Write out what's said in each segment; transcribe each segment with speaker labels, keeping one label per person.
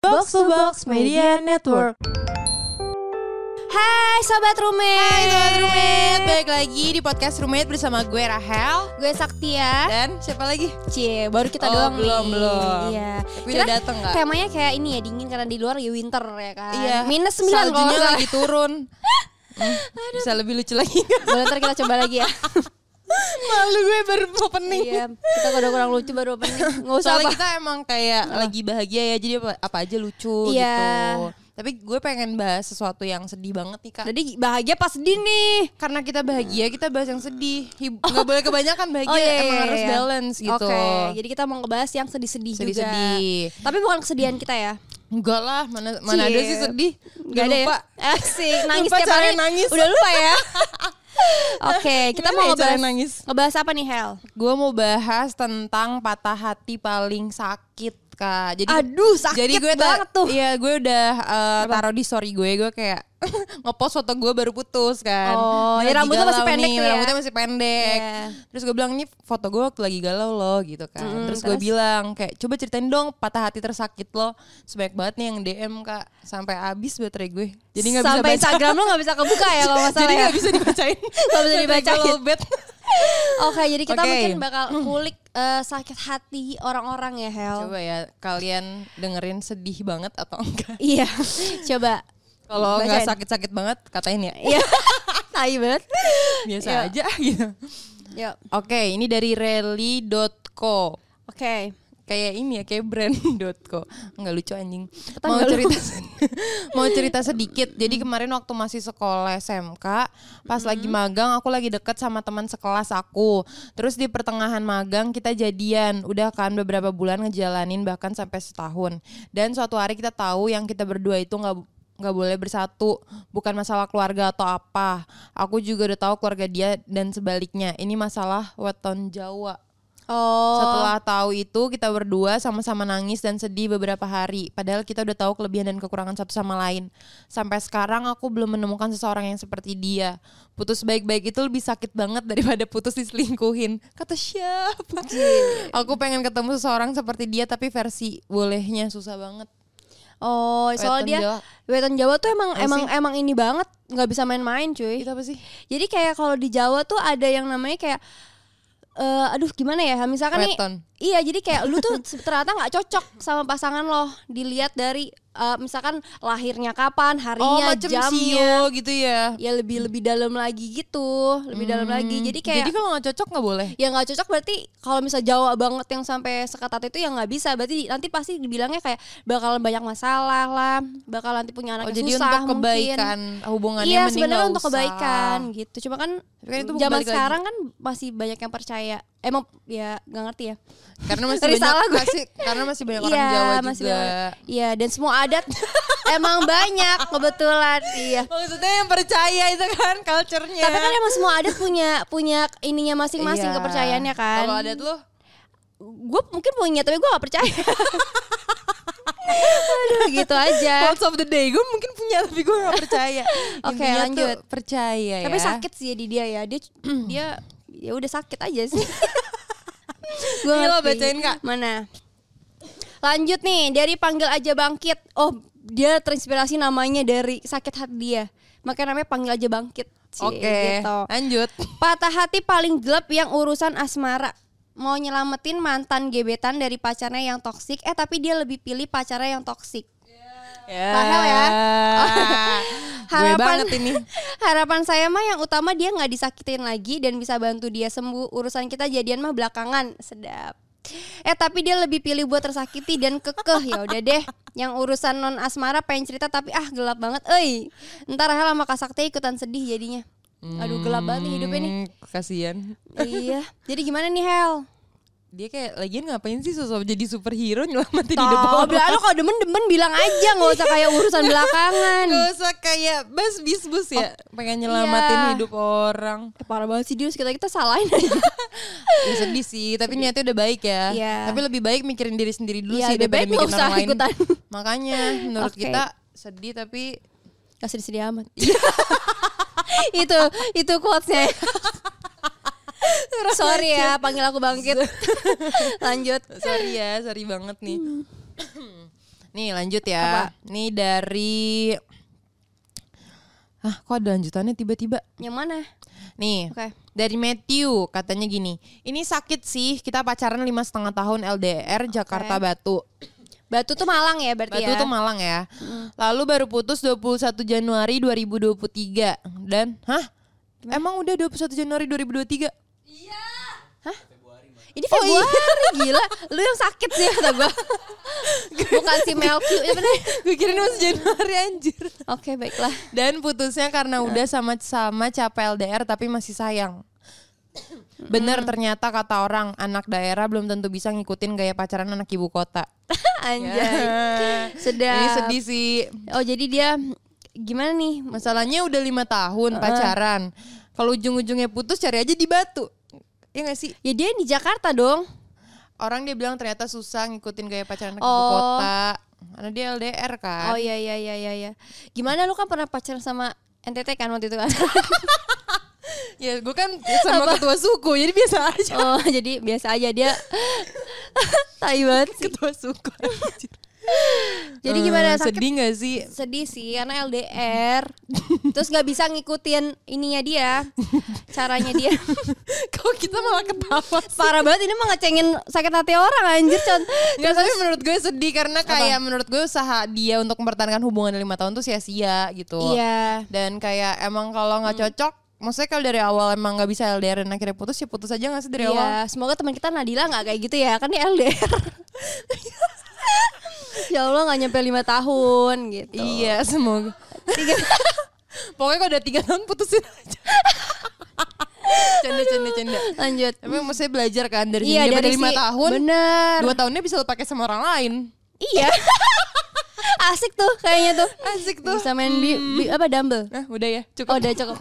Speaker 1: Box to Box Media Network.
Speaker 2: Hai sobat roommate.
Speaker 3: Hai sobat roommate, balik lagi di podcast roommate bersama gue Rahel
Speaker 2: Gue Saktia.
Speaker 3: dan siapa lagi?
Speaker 2: Cie, baru kita
Speaker 3: Oh,
Speaker 2: doang
Speaker 3: belum,
Speaker 2: nih.
Speaker 3: belum.
Speaker 2: Iya.
Speaker 3: Tapi udah dateng nggak?
Speaker 2: Temanya kayak ini ya, dingin karena di luar ya winter ya kan.
Speaker 3: Iya.
Speaker 2: Minus 9 kalau
Speaker 3: Saljunya
Speaker 2: nggak salah.
Speaker 3: lagi turun. Hmm, bisa lebih lucu lagi nggak?
Speaker 2: Boleh ntar kita coba lagi ya.
Speaker 3: Malu gue baru opening.
Speaker 2: iya, kita kalau udah kurang lucu baru opening. Enggak usah
Speaker 3: Soalnya
Speaker 2: apa.
Speaker 3: kita emang kayak lagi bahagia ya, jadi apa, apa aja lucu
Speaker 2: Iya.
Speaker 3: gitu. Tapi gue pengen bahas sesuatu yang sedih banget nih kak.
Speaker 2: Jadi bahagia pas sedih nih.
Speaker 3: Karena kita bahagia, kita bahas yang sedih. Hib- Nggak boleh kebanyakan bahagia,
Speaker 2: Oh, iya,
Speaker 3: emang
Speaker 2: iya,
Speaker 3: harus
Speaker 2: iya.
Speaker 3: balance gitu.
Speaker 2: Oke, jadi kita mau ngebahas yang sedih-sedih juga.
Speaker 3: Sedih-sedih.
Speaker 2: Tapi bukan kesedihan kita ya.
Speaker 3: Enggak lah, mana mana ada
Speaker 2: Cie.
Speaker 3: sih sedih?
Speaker 2: Gak ada
Speaker 3: lupa.
Speaker 2: ya. Asik, nangis
Speaker 3: Lupa
Speaker 2: tiap
Speaker 3: cara
Speaker 2: hari.
Speaker 3: nangis.
Speaker 2: Udah lupa ya. Oke, kita
Speaker 3: Gimana
Speaker 2: mau
Speaker 3: ya cara
Speaker 2: ngebahas,
Speaker 3: nangis?
Speaker 2: ngebahas apa nih Hel?
Speaker 3: Gue mau bahas tentang patah hati paling sakit kak. Jadi
Speaker 2: Aduh, sakit
Speaker 3: jadi gue ta-
Speaker 2: banget tuh.
Speaker 3: Iya gue udah eh, taruh di story gue gue kayak ngepost foto gue baru putus kan.
Speaker 2: Oh,
Speaker 3: Gue
Speaker 2: ya
Speaker 3: lagi
Speaker 2: rambutnya masih
Speaker 3: galau
Speaker 2: pendek
Speaker 3: nih,
Speaker 2: tuh ya.
Speaker 3: Rambutnya masih pendek.
Speaker 2: Iya.
Speaker 3: Terus gue bilang ini foto gue waktu lagi galau loh gitu kan.
Speaker 2: Mm,
Speaker 3: terus gue
Speaker 2: terus?
Speaker 3: bilang kayak coba ceritain dong patah hati tersakit lo. Sebanyak banget nih yang DM kak sampai habis baterai gue. Jadi nggak bisa
Speaker 2: Sampai
Speaker 3: baca.
Speaker 2: Instagram lo gak bisa kebuka ya kalau nggak salah
Speaker 3: Jadi
Speaker 2: ya.
Speaker 3: nggak bisa dibacain.
Speaker 2: Nggak bisa
Speaker 3: Baterai gue
Speaker 2: dibacain.
Speaker 3: lowbat.
Speaker 2: Oke, jadi kita
Speaker 3: Oke. Hmm.
Speaker 2: mungkin bakal kulik eh, sakit hati orang-orang ya Hel.
Speaker 3: Coba ya kalian dengerin sedih banget atau enggak?
Speaker 2: Iya, coba.
Speaker 3: Kalau nggak
Speaker 2: Bacain.
Speaker 3: sakit-sakit banget katain ya
Speaker 2: Iya, tai banget.
Speaker 3: biasa
Speaker 2: Iya.
Speaker 3: aja gitu.
Speaker 2: Yuk,
Speaker 3: Oke, ini dari rally.co.
Speaker 2: oke.
Speaker 3: Kayak ini ya, kayak brand.co. Enggak lucu anjing.
Speaker 2: Tetangga
Speaker 3: mau
Speaker 2: lu.
Speaker 3: cerita mau cerita sedikit. Jadi kemarin waktu masih sekolah SMK, pas lagi magang aku lagi deket sama teman sekelas aku. Terus di pertengahan magang kita jadian. Udah kan beberapa bulan ngejalanin bahkan sampai setahun. Dan suatu hari kita tahu yang kita berdua itu nggak nggak boleh bersatu bukan masalah keluarga atau apa aku juga udah tahu keluarga dia dan sebaliknya ini masalah weton Jawa
Speaker 2: Oh,
Speaker 3: setelah tahu itu kita berdua sama-sama nangis dan sedih beberapa hari. Padahal kita udah tahu kelebihan dan kekurangan satu sama lain. Sampai sekarang aku belum menemukan seseorang yang seperti dia. Putus baik-baik itu lebih sakit banget daripada putus diselingkuhin. Kata siapa? aku pengen ketemu seseorang seperti dia tapi versi bolehnya susah banget.
Speaker 2: oh, soal
Speaker 3: Weton
Speaker 2: dia
Speaker 3: Jawa.
Speaker 2: weton Jawa tuh emang
Speaker 3: Apa
Speaker 2: emang
Speaker 3: sih?
Speaker 2: emang ini banget, nggak bisa main-main cuy.
Speaker 3: Itu apa sih?
Speaker 2: Jadi kayak kalau di Jawa tuh ada yang namanya kayak eh aduh gimana ya misalkan
Speaker 3: Weton.
Speaker 2: nih iya jadi kayak lu tuh se- ternyata nggak cocok sama pasangan lo dilihat dari eh, misalkan lahirnya kapan
Speaker 3: Oh,
Speaker 2: harinya
Speaker 3: macam
Speaker 2: jamnya
Speaker 3: sio gitu ya.
Speaker 2: ya lebih lebih dalam lagi gitu lebih dalam lagi jadi kayak
Speaker 3: Hmm. Jadi kalau nggak cocok nggak boleh.
Speaker 2: ya nggak cocok berarti kalau misal Jawa banget yang sampai seketat itu ya nggak bisa berarti di- nanti pasti dibilangnya kayak bakalan banyak masalah lah bakal nanti punya anak
Speaker 3: Oh,
Speaker 2: yang
Speaker 3: jadi
Speaker 2: susah
Speaker 3: untuk kebaikan
Speaker 2: mungkin
Speaker 3: hubungannya
Speaker 2: iya
Speaker 3: mending
Speaker 2: sebenarnya
Speaker 3: nggak
Speaker 2: untuk
Speaker 3: usah.
Speaker 2: kebaikan gitu cuma kan
Speaker 3: Tapi kan itu
Speaker 2: zaman
Speaker 3: balik lagi.
Speaker 2: sekarang kan masih banyak yang percaya ememang ya nggak ngerti ya
Speaker 3: Karena masih
Speaker 2: Tadi
Speaker 3: banyak
Speaker 2: salah gue.
Speaker 3: masih- karena masih banyak orang
Speaker 2: Iya,
Speaker 3: Jawa
Speaker 2: masih
Speaker 3: juga.
Speaker 2: banyak- iya dan semua adat emang banyak kebetulan iya
Speaker 3: Maksudnya yang percaya itu kan culture-nya.
Speaker 2: tapi kan emang semua adat punya punya ininya masing-masing
Speaker 3: Iya.
Speaker 2: kepercayaannya kan
Speaker 3: Kalau adat lu
Speaker 2: gue mungkin punya tapi gue gak percaya aduh gitu aja
Speaker 3: quotes of the day gue mungkin punya tapi gue gak percaya.
Speaker 2: Oke,
Speaker 3: Intinya tuh
Speaker 2: lanjut.
Speaker 3: percaya ya.
Speaker 2: tapi sakit sih di dia ya dia dia ya udah sakit aja sih gue
Speaker 3: Ini lo bacain, Kak.
Speaker 2: mana lanjut nih dari panggil aja bangkit oh dia terinspirasi namanya dari sakit hati dia makanya namanya panggil aja bangkit Cie,
Speaker 3: Oke,
Speaker 2: gitu.
Speaker 3: lanjut.
Speaker 2: Patah hati paling gelap yang urusan asmara. Mau nyelamatin mantan gebetan dari pacarnya yang toksik, eh tapi dia lebih pilih pacarnya yang toksik.
Speaker 3: Ya.
Speaker 2: Mahal ya.
Speaker 3: Gue banget ini.
Speaker 2: harapan saya mah yang utama dia nggak disakitin lagi dan bisa bantu dia sembuh. Urusan kita jadian mah belakangan, sedap. Eh tapi dia lebih pilih buat tersakiti dan kekeh ya udah deh. Yang urusan non asmara pengen cerita tapi ah gelap banget. Euy, ntar Rahel sama Kak Sakti ikutan sedih jadinya. Aduh gelap banget nih hidupnya nih.
Speaker 3: Hmm, kasihan.
Speaker 2: iya. Jadi gimana nih Hel?
Speaker 3: Dia kayak lagian ngapain sih sosok jadi superhero nyelamatin hidup orang.
Speaker 2: Tahu bilang lu kalau demen-demen bilang aja nggak usah kayak urusan belakangan.
Speaker 3: Gak usah kayak bas bis bus ya Kan? pengen nyelamatin
Speaker 2: iya.
Speaker 3: hidup orang.
Speaker 2: Eh, parah banget sih dia kita kita salahin aja.
Speaker 3: ya sedih sih tapi niatnya udah baik ya
Speaker 2: Iya.
Speaker 3: tapi lebih baik mikirin diri sendiri dulu
Speaker 2: Iya,
Speaker 3: sih
Speaker 2: lebih
Speaker 3: daripada
Speaker 2: baik nggak
Speaker 3: mikirin orang
Speaker 2: usah
Speaker 3: lain
Speaker 2: ikutan.
Speaker 3: makanya menurut
Speaker 2: Oke.
Speaker 3: kita sedih tapi
Speaker 2: Gak sedih-sedih amat. itu itu quotesnya. Sorry ya panggil aku bangkit. Lanjut. Hmm.
Speaker 3: sorry ya sorry banget nih Nih lanjut ya. Nih dari Ah, kok ada lanjutannya tiba-tiba?
Speaker 2: Yang mana?
Speaker 3: Nih,
Speaker 2: Oke.
Speaker 3: dari Matthew katanya gini, ini sakit sih kita pacaran lima setengah tahun LDR Jakarta Batu.
Speaker 2: Batu tuh Malang ya berarti
Speaker 3: Batu
Speaker 2: ya.
Speaker 3: tuh Malang ya. Lalu baru putus 21 Januari 2023 dan hah? Emang udah 21 Januari 2023?
Speaker 2: Iya. Ini Februari
Speaker 3: Oh, iya.
Speaker 2: gila. Lu yang sakit sih kata gua. Bukan si Melky ya bener.
Speaker 3: Gue kirain masih Januari anjir.
Speaker 2: Oke, baiklah.
Speaker 3: Dan putusnya karena udah sama-sama capek LDR tapi masih sayang. Bener ternyata kata orang anak daerah belum tentu bisa ngikutin gaya pacaran anak ibu kota.
Speaker 2: Anjay. Sedap.
Speaker 3: Ya. Ini sedih sih.
Speaker 2: Oh, jadi dia gimana nih?
Speaker 3: Masalahnya udah lima tahun pacaran. Kalau ujung-ujungnya putus cari aja di Batu. Ya gak sih?
Speaker 2: Ya dia di Jakarta dong.
Speaker 3: Orang dia bilang ternyata susah ngikutin gaya pacaran anak ibu
Speaker 2: Oh.
Speaker 3: kota. Karena dia LDR kan.
Speaker 2: Oh iya iya iya iya iya. Gimana lu kan pernah pacaran sama NTT kan waktu itu kan?
Speaker 3: Ya
Speaker 2: iya,
Speaker 3: gue kan sama ketua suku jadi biasa aja.
Speaker 2: oh, jadi biasa aja dia tai banget sih.
Speaker 3: Ketua suku. anjir.
Speaker 2: Jadi gimana
Speaker 3: Eh,
Speaker 2: sakit?
Speaker 3: Sedih gak sih?
Speaker 2: Sedih sih karena LDR. Terus nggak bisa ngikutin ininya dia. Caranya dia.
Speaker 3: Kok kita malah ketawa sih?
Speaker 2: Parah banget ini mah ngecengin sakit hati orang anjir con.
Speaker 3: Nggak, tapi menurut gue sedih karena kayak menurut gue usaha dia untuk mempertahankan hubungan lima tahun tuh sia-sia gitu.
Speaker 2: Iya. Hmm.
Speaker 3: Dan kayak emang kalau nggak cocok, maksudnya kalau dari awal emang nggak bisa LDR dan akhirnya putus ya putus aja nggak sih dari awal?
Speaker 2: Iya, semoga teman kita Nadila nggak kayak gitu ya, kan dia LDR. ya Allah nggak nyampe lima tahun gitu.
Speaker 3: Iya semoga. Pokoknya kalau udah tiga tahun putusin aja. canda canda canda.
Speaker 2: Lanjut.
Speaker 3: Emang maksudnya belajar kan dari
Speaker 2: Iya,
Speaker 3: sini dari
Speaker 2: dari
Speaker 3: lima
Speaker 2: si-
Speaker 3: tahun,
Speaker 2: bener.
Speaker 3: dua tahunnya bisa lo pakai sama orang lain.
Speaker 2: Iya. Asik tuh kayaknya tuh.
Speaker 3: Asik tuh.
Speaker 2: Bisa main bi- bi- apa dumbbell.
Speaker 3: Nah udah ya cukup.
Speaker 2: Oh, udah cukup.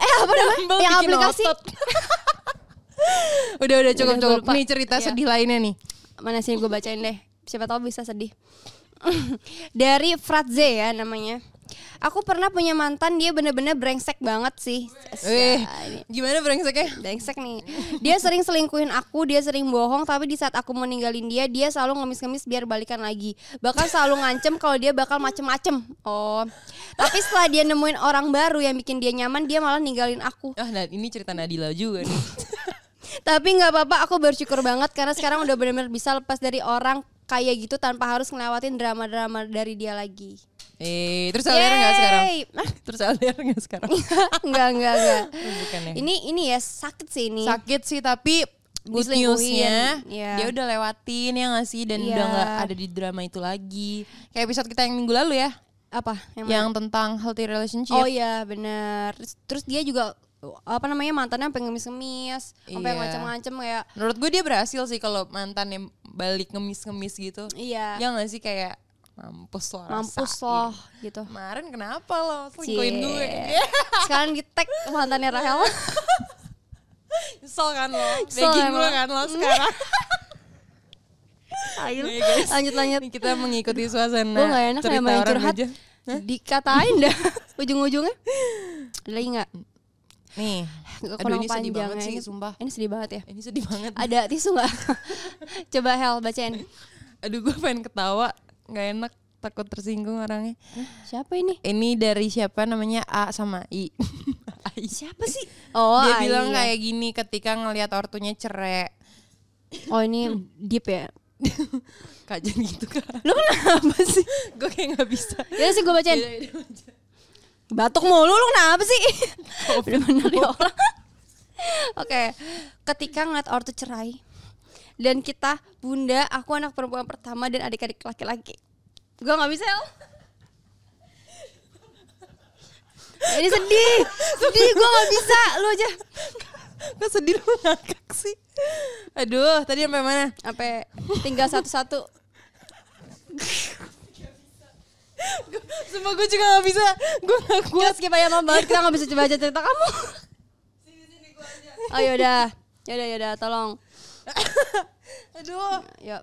Speaker 2: eh, apa namanya?
Speaker 3: Dumbbell
Speaker 2: Yang
Speaker 3: bikin
Speaker 2: aplikasi
Speaker 3: otot. udah udah cukup
Speaker 2: Udah,
Speaker 3: cukup.
Speaker 2: gua lupa.
Speaker 3: Nih cerita
Speaker 2: Iya.
Speaker 3: sedih lainnya nih.
Speaker 2: mana sih gue bacain deh. Siapa tahu bisa sedih. Dari Fratze ya namanya. Aku pernah punya mantan dia bener-bener brengsek banget sih.
Speaker 3: Wih,
Speaker 2: Ini-
Speaker 3: Eh, gimana brengseknya?
Speaker 2: Brengsek nih. Dia sering selingkuhin aku, dia sering bohong, tapi di saat aku meninggalin dia, dia selalu ngemis-ngemis biar balikan lagi. Bahkan selalu ngancem kalau dia bakal macem-macem. Oh. Tapi setelah dia nemuin orang baru yang bikin dia nyaman, dia malah ninggalin aku.
Speaker 3: Ah, nah, ini cerita Nadila juga nih.
Speaker 2: Tapi nggak apa-apa, aku bersyukur banget karena sekarang udah bener-bener bisa lepas dari orang kayak gitu tanpa harus ngelewatin drama-drama dari dia lagi.
Speaker 3: eh, terus LDR nggak sekarang?
Speaker 2: Yeay. Ah,
Speaker 3: Terus LDR nggak sekarang?
Speaker 2: Nggak, nggak, nggak.
Speaker 3: Bukan ya.
Speaker 2: Ini ini ya sakit sih ini.
Speaker 3: Sakit sih tapi good
Speaker 2: Diselingkuhin,
Speaker 3: newsnya
Speaker 2: iya.
Speaker 3: dia udah lewatin ya nggak sih dan
Speaker 2: Iya.
Speaker 3: udah nggak ada di drama itu lagi. Kayak episode kita yang minggu lalu ya,
Speaker 2: Apa? Yang mana?
Speaker 3: yang tentang healthy relationship.
Speaker 2: Oh iya benar. Terus, terus dia juga apa namanya mantannya sampai ngemis-ngemis, sampai
Speaker 3: Iya.
Speaker 2: ngancem-ngancem kayak
Speaker 3: Menurut gue dia berhasil sih kalau mantan yang balik ngemis-ngemis gitu.
Speaker 2: iya
Speaker 3: Ya nggak sih kayak mampus lo
Speaker 2: mampus
Speaker 3: rasain.
Speaker 2: loh gitu.
Speaker 3: Kemarin kenapa lo selingkuhin
Speaker 2: Cie.
Speaker 3: gue? Iya,
Speaker 2: Sekarang di tag mantannya Rahel.
Speaker 3: Nyesel kan lo?
Speaker 2: Nyesel
Speaker 3: Begging gue
Speaker 2: emang. Mm.
Speaker 3: kan lo sekarang? Nih, guys.
Speaker 2: lanjut lanjut.
Speaker 3: Ini kita mengikuti suasana
Speaker 2: Gue nggak enak
Speaker 3: cerita
Speaker 2: namanya
Speaker 3: orang
Speaker 2: curhat.
Speaker 3: aja.
Speaker 2: Dikatain dah ujung-ujungnya. Ada lagi nggak?
Speaker 3: Nih, aduh
Speaker 2: Kurang
Speaker 3: ini sedih
Speaker 2: panjang
Speaker 3: banget
Speaker 2: ya.
Speaker 3: sih,
Speaker 2: Ini-
Speaker 3: sumpah.
Speaker 2: Ini sedih banget ya.
Speaker 3: Ini sedih banget.
Speaker 2: Ada tisu nggak? Coba Hel bacain.
Speaker 3: Aduh, gue pengen ketawa, nggak enak, takut tersinggung orangnya.
Speaker 2: Siapa ini?
Speaker 3: Ini dari siapa namanya A sama I. Ai.
Speaker 2: Siapa sih? Oh,
Speaker 3: Dia
Speaker 2: Ai,
Speaker 3: bilang
Speaker 2: ya.
Speaker 3: kayak gini ketika ngelihat ortunya cerai.
Speaker 2: Oh ini deep ya.
Speaker 3: Kajian gitu kan.
Speaker 2: Lu kenapa sih?
Speaker 3: gue kayak nggak bisa.
Speaker 2: Ya sih gue bacain.
Speaker 3: Iya,
Speaker 2: Batuk mulu lu kenapa sih? Bener-bener ya Allah. Oke, ketika ngeliat ortu cerai dan kita bunda, aku anak perempuan pertama dan adik-adik laki-laki. Gue nggak bisa. El. Ini sedih, sedih gue nggak bisa, lu aja.
Speaker 3: Gue sedih lu ngakak sih. Aduh, tadi sampai mana?
Speaker 2: Sampai tinggal satu-satu.
Speaker 3: Sumpah gue juga nggak bisa. Gue nggak
Speaker 2: Gue
Speaker 3: kuat.
Speaker 2: skip aja Mam, banget, kita nggak bisa coba aja cerita kamu. Oh yaudah, yaudah yaudah, tolong.
Speaker 3: Aduh.
Speaker 2: Yuk.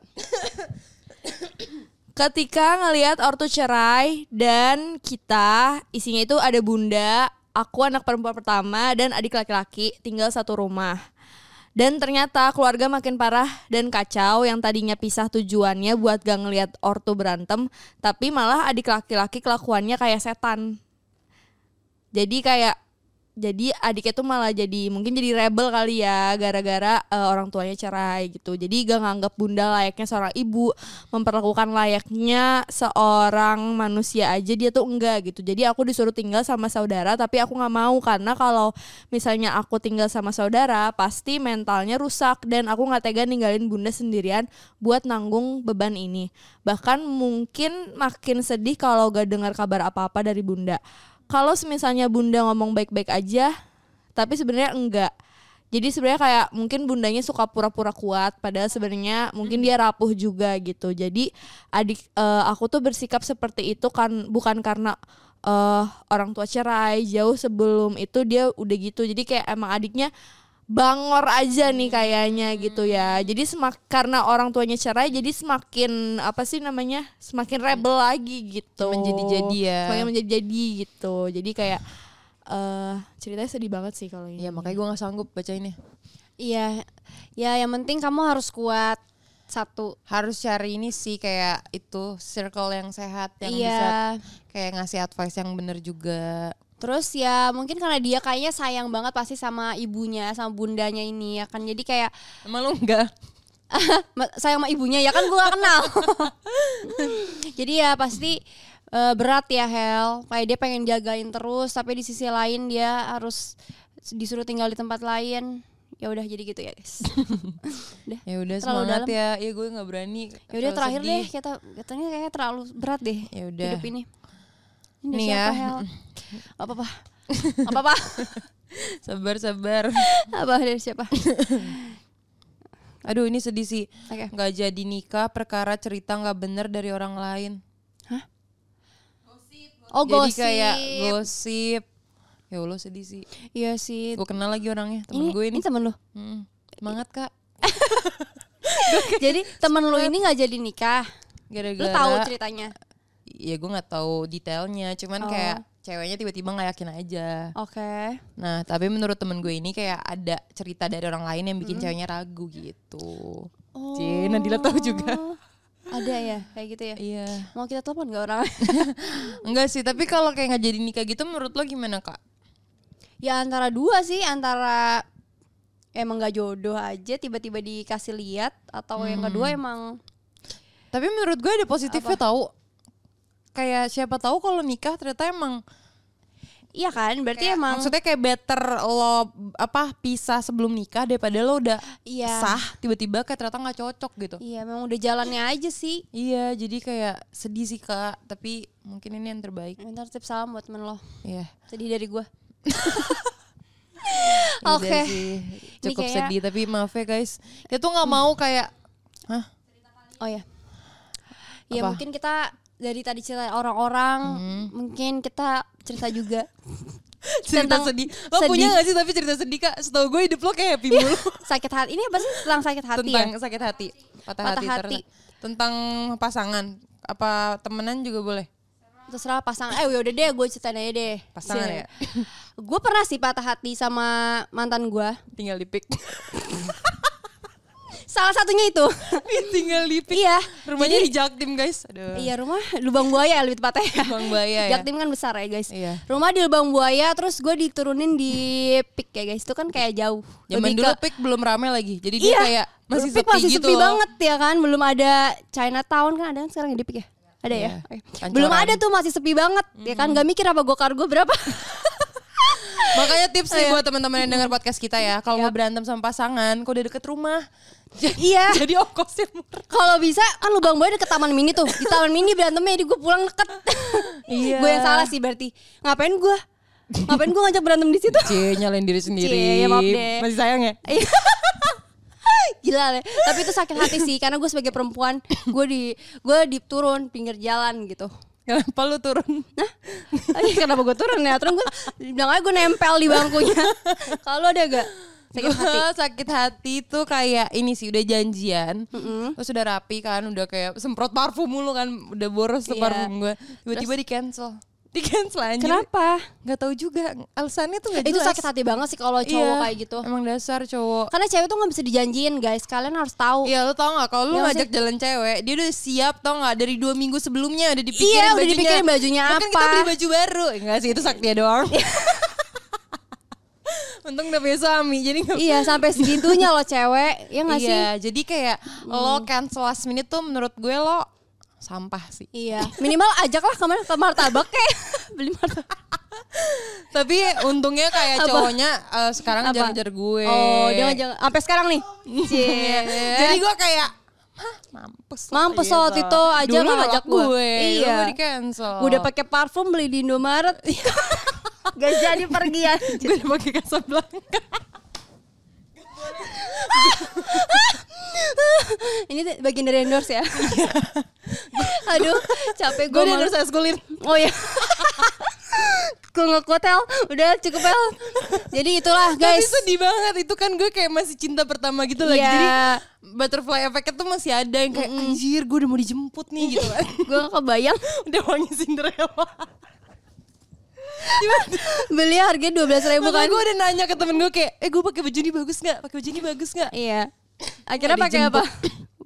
Speaker 1: Ketika ngelihat ortu cerai dan kita isinya itu ada bunda, aku anak perempuan pertama dan adik laki-laki tinggal satu rumah. Dan ternyata keluarga makin parah dan kacau yang tadinya pisah tujuannya buat gak ngeliat ortu berantem, tapi malah adik laki-laki kelakuannya kayak setan. Jadi kayak jadi adiknya tuh malah jadi mungkin jadi rebel kali ya gara-gara eh, orang tuanya cerai gitu. Jadi gak nganggap bunda layaknya seorang ibu, memperlakukan layaknya seorang manusia aja dia tuh enggak gitu. Jadi aku disuruh tinggal sama saudara tapi aku nggak mau karena kalau misalnya aku tinggal sama saudara pasti mentalnya rusak dan aku nggak tega ninggalin bunda sendirian buat nanggung beban ini. Bahkan mungkin makin sedih kalau gak dengar kabar apa-apa dari bunda kalau misalnya bunda ngomong baik-baik aja tapi sebenarnya enggak jadi sebenarnya kayak mungkin bundanya suka pura-pura kuat padahal sebenarnya mungkin dia rapuh juga gitu jadi adik eh, aku tuh bersikap seperti itu kan bukan karena eh orang tua cerai jauh sebelum itu dia udah gitu jadi kayak emang adiknya bangor aja nih kayaknya gitu ya jadi semak karena orang tuanya cerai jadi semakin apa sih namanya semakin rebel lagi gitu
Speaker 3: Menjadi-jadi ya.
Speaker 1: Semakin menjadi-jadi gitu. Jadi kayak eh ceritanya sedih banget sih kalau ini.
Speaker 3: Iya makanya gue nggak sanggup baca ini.
Speaker 2: Iya, ya yang penting kamu harus kuat satu.
Speaker 3: Harus cari ini sih kayak itu circle yang sehat yang bisa
Speaker 2: Iya.
Speaker 3: kayak ngasih advice yang bener juga.
Speaker 2: Terus ya mungkin karena dia kayaknya sayang banget pasti sama ibunya, sama bundanya ini ya kan. Jadi kayak
Speaker 3: Emang lu enggak?
Speaker 2: Ma- sayang sama ibunya ya kan gue gak kenal. Jadi ya pasti eh, berat ya Hel. Kayak dia pengen jagain terus tapi di sisi lain dia harus disuruh tinggal di tempat lain. Ya udah jadi gitu ya guys. udah.
Speaker 3: Ya udah
Speaker 2: Terlalu
Speaker 3: semangat
Speaker 2: dalam.
Speaker 3: ya. Iya gue nggak berani.
Speaker 2: Ya udah
Speaker 3: Terlalu
Speaker 2: terakhir
Speaker 3: sedih.
Speaker 2: deh kita katanya kayaknya terlalu berat deh
Speaker 3: Ya udah.
Speaker 2: hidup ini. Ini
Speaker 3: Nih
Speaker 2: siapa,
Speaker 3: ya.
Speaker 2: Hel? Gak apa-apa. Gak apa-apa.
Speaker 3: Sabar sabar.
Speaker 2: Apa dari siapa?
Speaker 3: Aduh ini sedih sih. Eh,
Speaker 2: Oke.
Speaker 3: Nggak jadi nikah perkara cerita nggak bener dari orang lain.
Speaker 2: Oh,
Speaker 3: jadi
Speaker 2: gosip.
Speaker 3: kayak gosip. Ya Allah sedih sih.
Speaker 2: Iya sih.
Speaker 3: Gue kenal lagi orangnya temen
Speaker 2: ini,
Speaker 3: gue ini.
Speaker 2: ini temen lu.
Speaker 3: Hmm. Semangat kak.
Speaker 2: Jadi temen lu ini nggak jadi nikah.
Speaker 3: Gara-gara.
Speaker 2: Lu tahu ceritanya.
Speaker 3: ya gue nggak tahu detailnya cuman
Speaker 2: Oh.
Speaker 3: kayak ceweknya tiba-tiba nggak yakin aja
Speaker 2: Oke.
Speaker 3: nah tapi menurut temen gue ini kayak ada cerita dari orang lain yang
Speaker 2: Hmm.
Speaker 3: bikin ceweknya ragu gitu
Speaker 2: Oh.
Speaker 3: Cie, Nadila tahu juga
Speaker 2: Ada ya kayak gitu ya.
Speaker 3: iya
Speaker 2: Mau kita telepon gak orang?
Speaker 3: enggak sih tapi kalau kayak nggak jadi nikah gitu menurut lo gimana kak
Speaker 2: ya antara dua sih, antara emang gak jodoh aja tiba-tiba dikasih lihat atau yang
Speaker 3: Hmm.
Speaker 2: kedua emang
Speaker 3: tapi menurut gue ada positifnya tahu kayak siapa tahu kalau nikah ternyata emang
Speaker 2: iya kan berarti
Speaker 3: kayak-
Speaker 2: emang
Speaker 3: maksudnya kayak better lo apa pisah sebelum nikah daripada lo udah
Speaker 2: Iya.
Speaker 3: sah tiba-tiba kayak ternyata nggak cocok gitu
Speaker 2: Iya, memang udah jalannya aja sih.
Speaker 3: Iya, jadi kayak sedih sih kak, tapi mungkin ini yang terbaik.
Speaker 2: Bentar tip salam buat temen lo.
Speaker 3: Iya.
Speaker 2: Sedih dari gua.
Speaker 3: Iya
Speaker 2: Oke.
Speaker 3: sih.
Speaker 2: Ini
Speaker 3: Cukup
Speaker 2: kayak- Hmm.
Speaker 3: sedih, tapi maaf ya guys, kita tuh nggak mau kayak, hah?
Speaker 2: Oh ya.
Speaker 3: Apa? Hmm.
Speaker 2: Ya mungkin kita dari tadi cerita orang-orang, mungkin kita cerita juga.
Speaker 3: Cerita
Speaker 2: Tentang
Speaker 3: sedih. Lo
Speaker 2: sedih.
Speaker 3: punya gak sih tapi cerita sedih kak? Setahu gue hidup lo kayak happy mulu.
Speaker 2: sakit hati ini apa sih tentang sakit hati
Speaker 3: Tentang
Speaker 2: ya?
Speaker 3: sakit hati, patah,
Speaker 2: Patah
Speaker 3: hati,
Speaker 2: hati.
Speaker 3: ter- tentang pasangan, apa temenan juga boleh.
Speaker 2: Terserah pasangan. Eh udah deh, gue ceritain aja deh.
Speaker 3: Pasangan ya?
Speaker 2: gue pernah sih patah hati sama mantan gue.
Speaker 3: Tinggal di pick.
Speaker 2: Salah satunya itu.
Speaker 3: Tinggal di pick.
Speaker 2: iya.
Speaker 3: Rumahnya di Jaktim guys. Aduh.
Speaker 2: Iya rumah lubang buaya lebih tepatnya.
Speaker 3: Lubang buaya ya.
Speaker 2: Jaktim kan besar ya guys.
Speaker 3: Iya.
Speaker 2: Rumah di lubang buaya terus gue diturunin di pik ya guys. Itu kan kayak jauh.
Speaker 3: Zaman
Speaker 2: Lebih
Speaker 3: dulu
Speaker 2: ke-
Speaker 3: pick belum rame lagi, jadi dia
Speaker 2: iya,
Speaker 3: kayak masih
Speaker 2: Pik
Speaker 3: sepi
Speaker 2: masih
Speaker 3: gitu.
Speaker 2: sepi
Speaker 3: loh.
Speaker 2: banget ya kan. Belum ada Chinatown kan ada kan sekarang ya di pik ya. Ada
Speaker 3: Iya,
Speaker 2: ya. Oke.
Speaker 3: pancoran.
Speaker 2: Belum ada tuh masih sepi banget ya kan. Gak mikir apa gokar gue berapa.
Speaker 3: Makanya tips
Speaker 2: Iya.
Speaker 3: nih buat teman-teman yang dengar podcast kita ya, kalau mau berantem sama pasangan, kok udah deket rumah.
Speaker 2: iya.
Speaker 3: Jadi ongkosnya murah.
Speaker 2: Kalau bisa kan lubang buaya deket taman mini tuh. Di taman mini berantemnya jadi gue pulang deket.
Speaker 3: Iya.
Speaker 2: gue yang salah sih berarti. Ngapain gue? Ngapain gue ngajak berantem di situ?
Speaker 3: Cie, nyalain diri sendiri.
Speaker 2: Cie, maaf deh.
Speaker 3: Masih sayang ya?
Speaker 2: Iya. Gila deh. Tapi itu sakit hati sih karena gue sebagai perempuan gue di gue diturun pinggir jalan gitu.
Speaker 3: Kenapa lu turun?
Speaker 2: Nah, aduh, kenapa gue turun ya? Turun gue bilang aja gue nempel di bangkunya. Kalau lu ada gak sakit hati?
Speaker 3: Gua sakit hati tuh kayak ini sih udah janjian terus udah rapi kan udah kayak semprot parfum mulu kan udah boros tuh
Speaker 2: Iya.
Speaker 3: parfum gue tiba-tiba di cancel di
Speaker 2: kan,
Speaker 3: cancel aja.
Speaker 2: Kenapa?
Speaker 3: Nggak tahu juga. Alasannya tuh nggak
Speaker 2: Itu
Speaker 3: jelas.
Speaker 2: sakit hati banget sih kalau cowok
Speaker 3: Iya,
Speaker 2: kayak gitu.
Speaker 3: Emang dasar cowok.
Speaker 2: Karena cewek tuh nggak bisa dijanjiin guys. Kalian harus tahu.
Speaker 3: Iya lo tau gak kalau lu
Speaker 2: Iya
Speaker 3: ngajak jalan cewek Dia udah siap tau gak dari dua minggu sebelumnya Udah dipikirin
Speaker 2: Iya, udah
Speaker 3: bajunya
Speaker 2: dipikirin bajunya
Speaker 3: Mungkin kita
Speaker 2: apa. Iya.
Speaker 3: beli baju baru Enggak sih itu saktia doang Untung udah punya suami Jadi gak
Speaker 2: Iya sampai segitunya loh cewek. Ya nggak sih? Hmm.
Speaker 3: Iya jadi kayak Lo cancel last minute tuh menurut gue lo Sampah sih
Speaker 2: Iya. Minimal ajaklah kemana ke martabak ya. Beli martabak.
Speaker 3: Tapi untungnya kayak
Speaker 2: Apa?
Speaker 3: cowoknya eh, Sekarang
Speaker 2: Apa?
Speaker 3: ngejar-ngejar gue
Speaker 2: Oh, dia ngajak sampai sekarang nih.
Speaker 3: Iya. Jadi gue kayak "Hah, mampus lo,
Speaker 2: Mampus lo,
Speaker 3: gitu."
Speaker 2: Tito aja
Speaker 3: Dulu
Speaker 2: nggak
Speaker 3: nolak
Speaker 2: ngajak gue.
Speaker 3: Iya
Speaker 2: Iya.
Speaker 3: di cancel
Speaker 2: Udah pakai parfum beli di Indomaret. Oh. Gak jadi pergi ya. aja.
Speaker 3: Gue udah pakai Casablanca
Speaker 2: Ini tuh bagian dari endorse ya.
Speaker 3: Iya.
Speaker 2: Aduh, capek
Speaker 3: Gue
Speaker 2: gue.
Speaker 3: udah
Speaker 2: mau-
Speaker 3: harus es kulit
Speaker 2: Oh ya. Gue ngekutel, udah cukup el. Jadi itulah
Speaker 3: Tapi
Speaker 2: guys.
Speaker 3: sedih banget Itu kan gue kayak masih cinta pertama gitu lagi
Speaker 2: Iya.
Speaker 3: Jadi butterfly effect tuh masih ada Yang kayak anjir gue udah mau dijemput nih gitu kan
Speaker 2: Gue kebayang
Speaker 3: Udah wangi Cinderella
Speaker 2: beli harga dua belas ribu
Speaker 3: Bukan
Speaker 2: kan.
Speaker 3: gue udah nanya ke temen gue kayak Eh gue pakai baju ini bagus gak? Pakai baju ini bagus gak?
Speaker 2: Iya. Akhirnya
Speaker 3: Nggak
Speaker 2: pakai apa?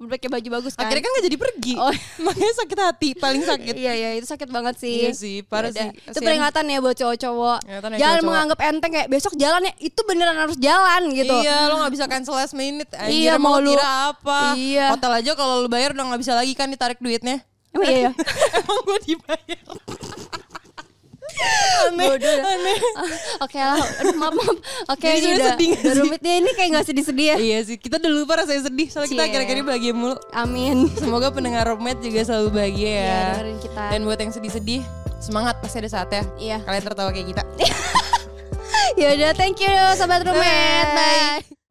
Speaker 2: Pakai baju bagus kan.
Speaker 3: Akhirnya kan gak jadi pergi
Speaker 2: Oh.
Speaker 3: Makanya sakit hati Paling sakit
Speaker 2: Iya iya itu sakit banget sih.
Speaker 3: Iya sih, parah
Speaker 2: Yaudah.
Speaker 3: sih,
Speaker 2: Itu
Speaker 3: kasihan.
Speaker 2: peringatan ya buat cowok-cowok.
Speaker 3: Peringatan ya
Speaker 2: Jangan
Speaker 3: cowok-cowok.
Speaker 2: menganggap enteng kayak besok jalan ya. Itu beneran harus jalan gitu.
Speaker 3: Iya, lo gak bisa cancel last minute. Anjir,
Speaker 2: Iya,
Speaker 3: mau
Speaker 2: mau lu-
Speaker 3: kira apa?
Speaker 2: Iya.
Speaker 3: Hotel aja kalau lu bayar udah gak bisa lagi kan ditarik duitnya.
Speaker 2: Emang iya ya.
Speaker 3: Emang gue dibayar. aneh,
Speaker 2: Bodoh dah.
Speaker 3: aneh.
Speaker 2: Ah, Oke lah. Aduh maaf maaf. Oke
Speaker 3: ya. Jadi
Speaker 2: ini
Speaker 3: sebenarnya
Speaker 2: udah,
Speaker 3: sedih nggak
Speaker 2: udah
Speaker 3: sih?
Speaker 2: rumit deh. Ini kayak gak sedih-sedih ya.
Speaker 3: Iya sih, kita dulu lupa rasanya sedih. Soalnya kita
Speaker 2: Cie.
Speaker 3: akhir-akhir ini bahagia mulu.
Speaker 2: Amin.
Speaker 3: Semoga pendengar romet juga selalu bahagia ya.
Speaker 2: Iya, dengerin kita.
Speaker 3: Dan buat yang sedih-sedih, semangat pasti ada saatnya.
Speaker 2: Iya.
Speaker 3: Kalian tertawa kayak kita.
Speaker 2: Yaudah thank you sobat rumet.
Speaker 3: Bye.
Speaker 2: Bye.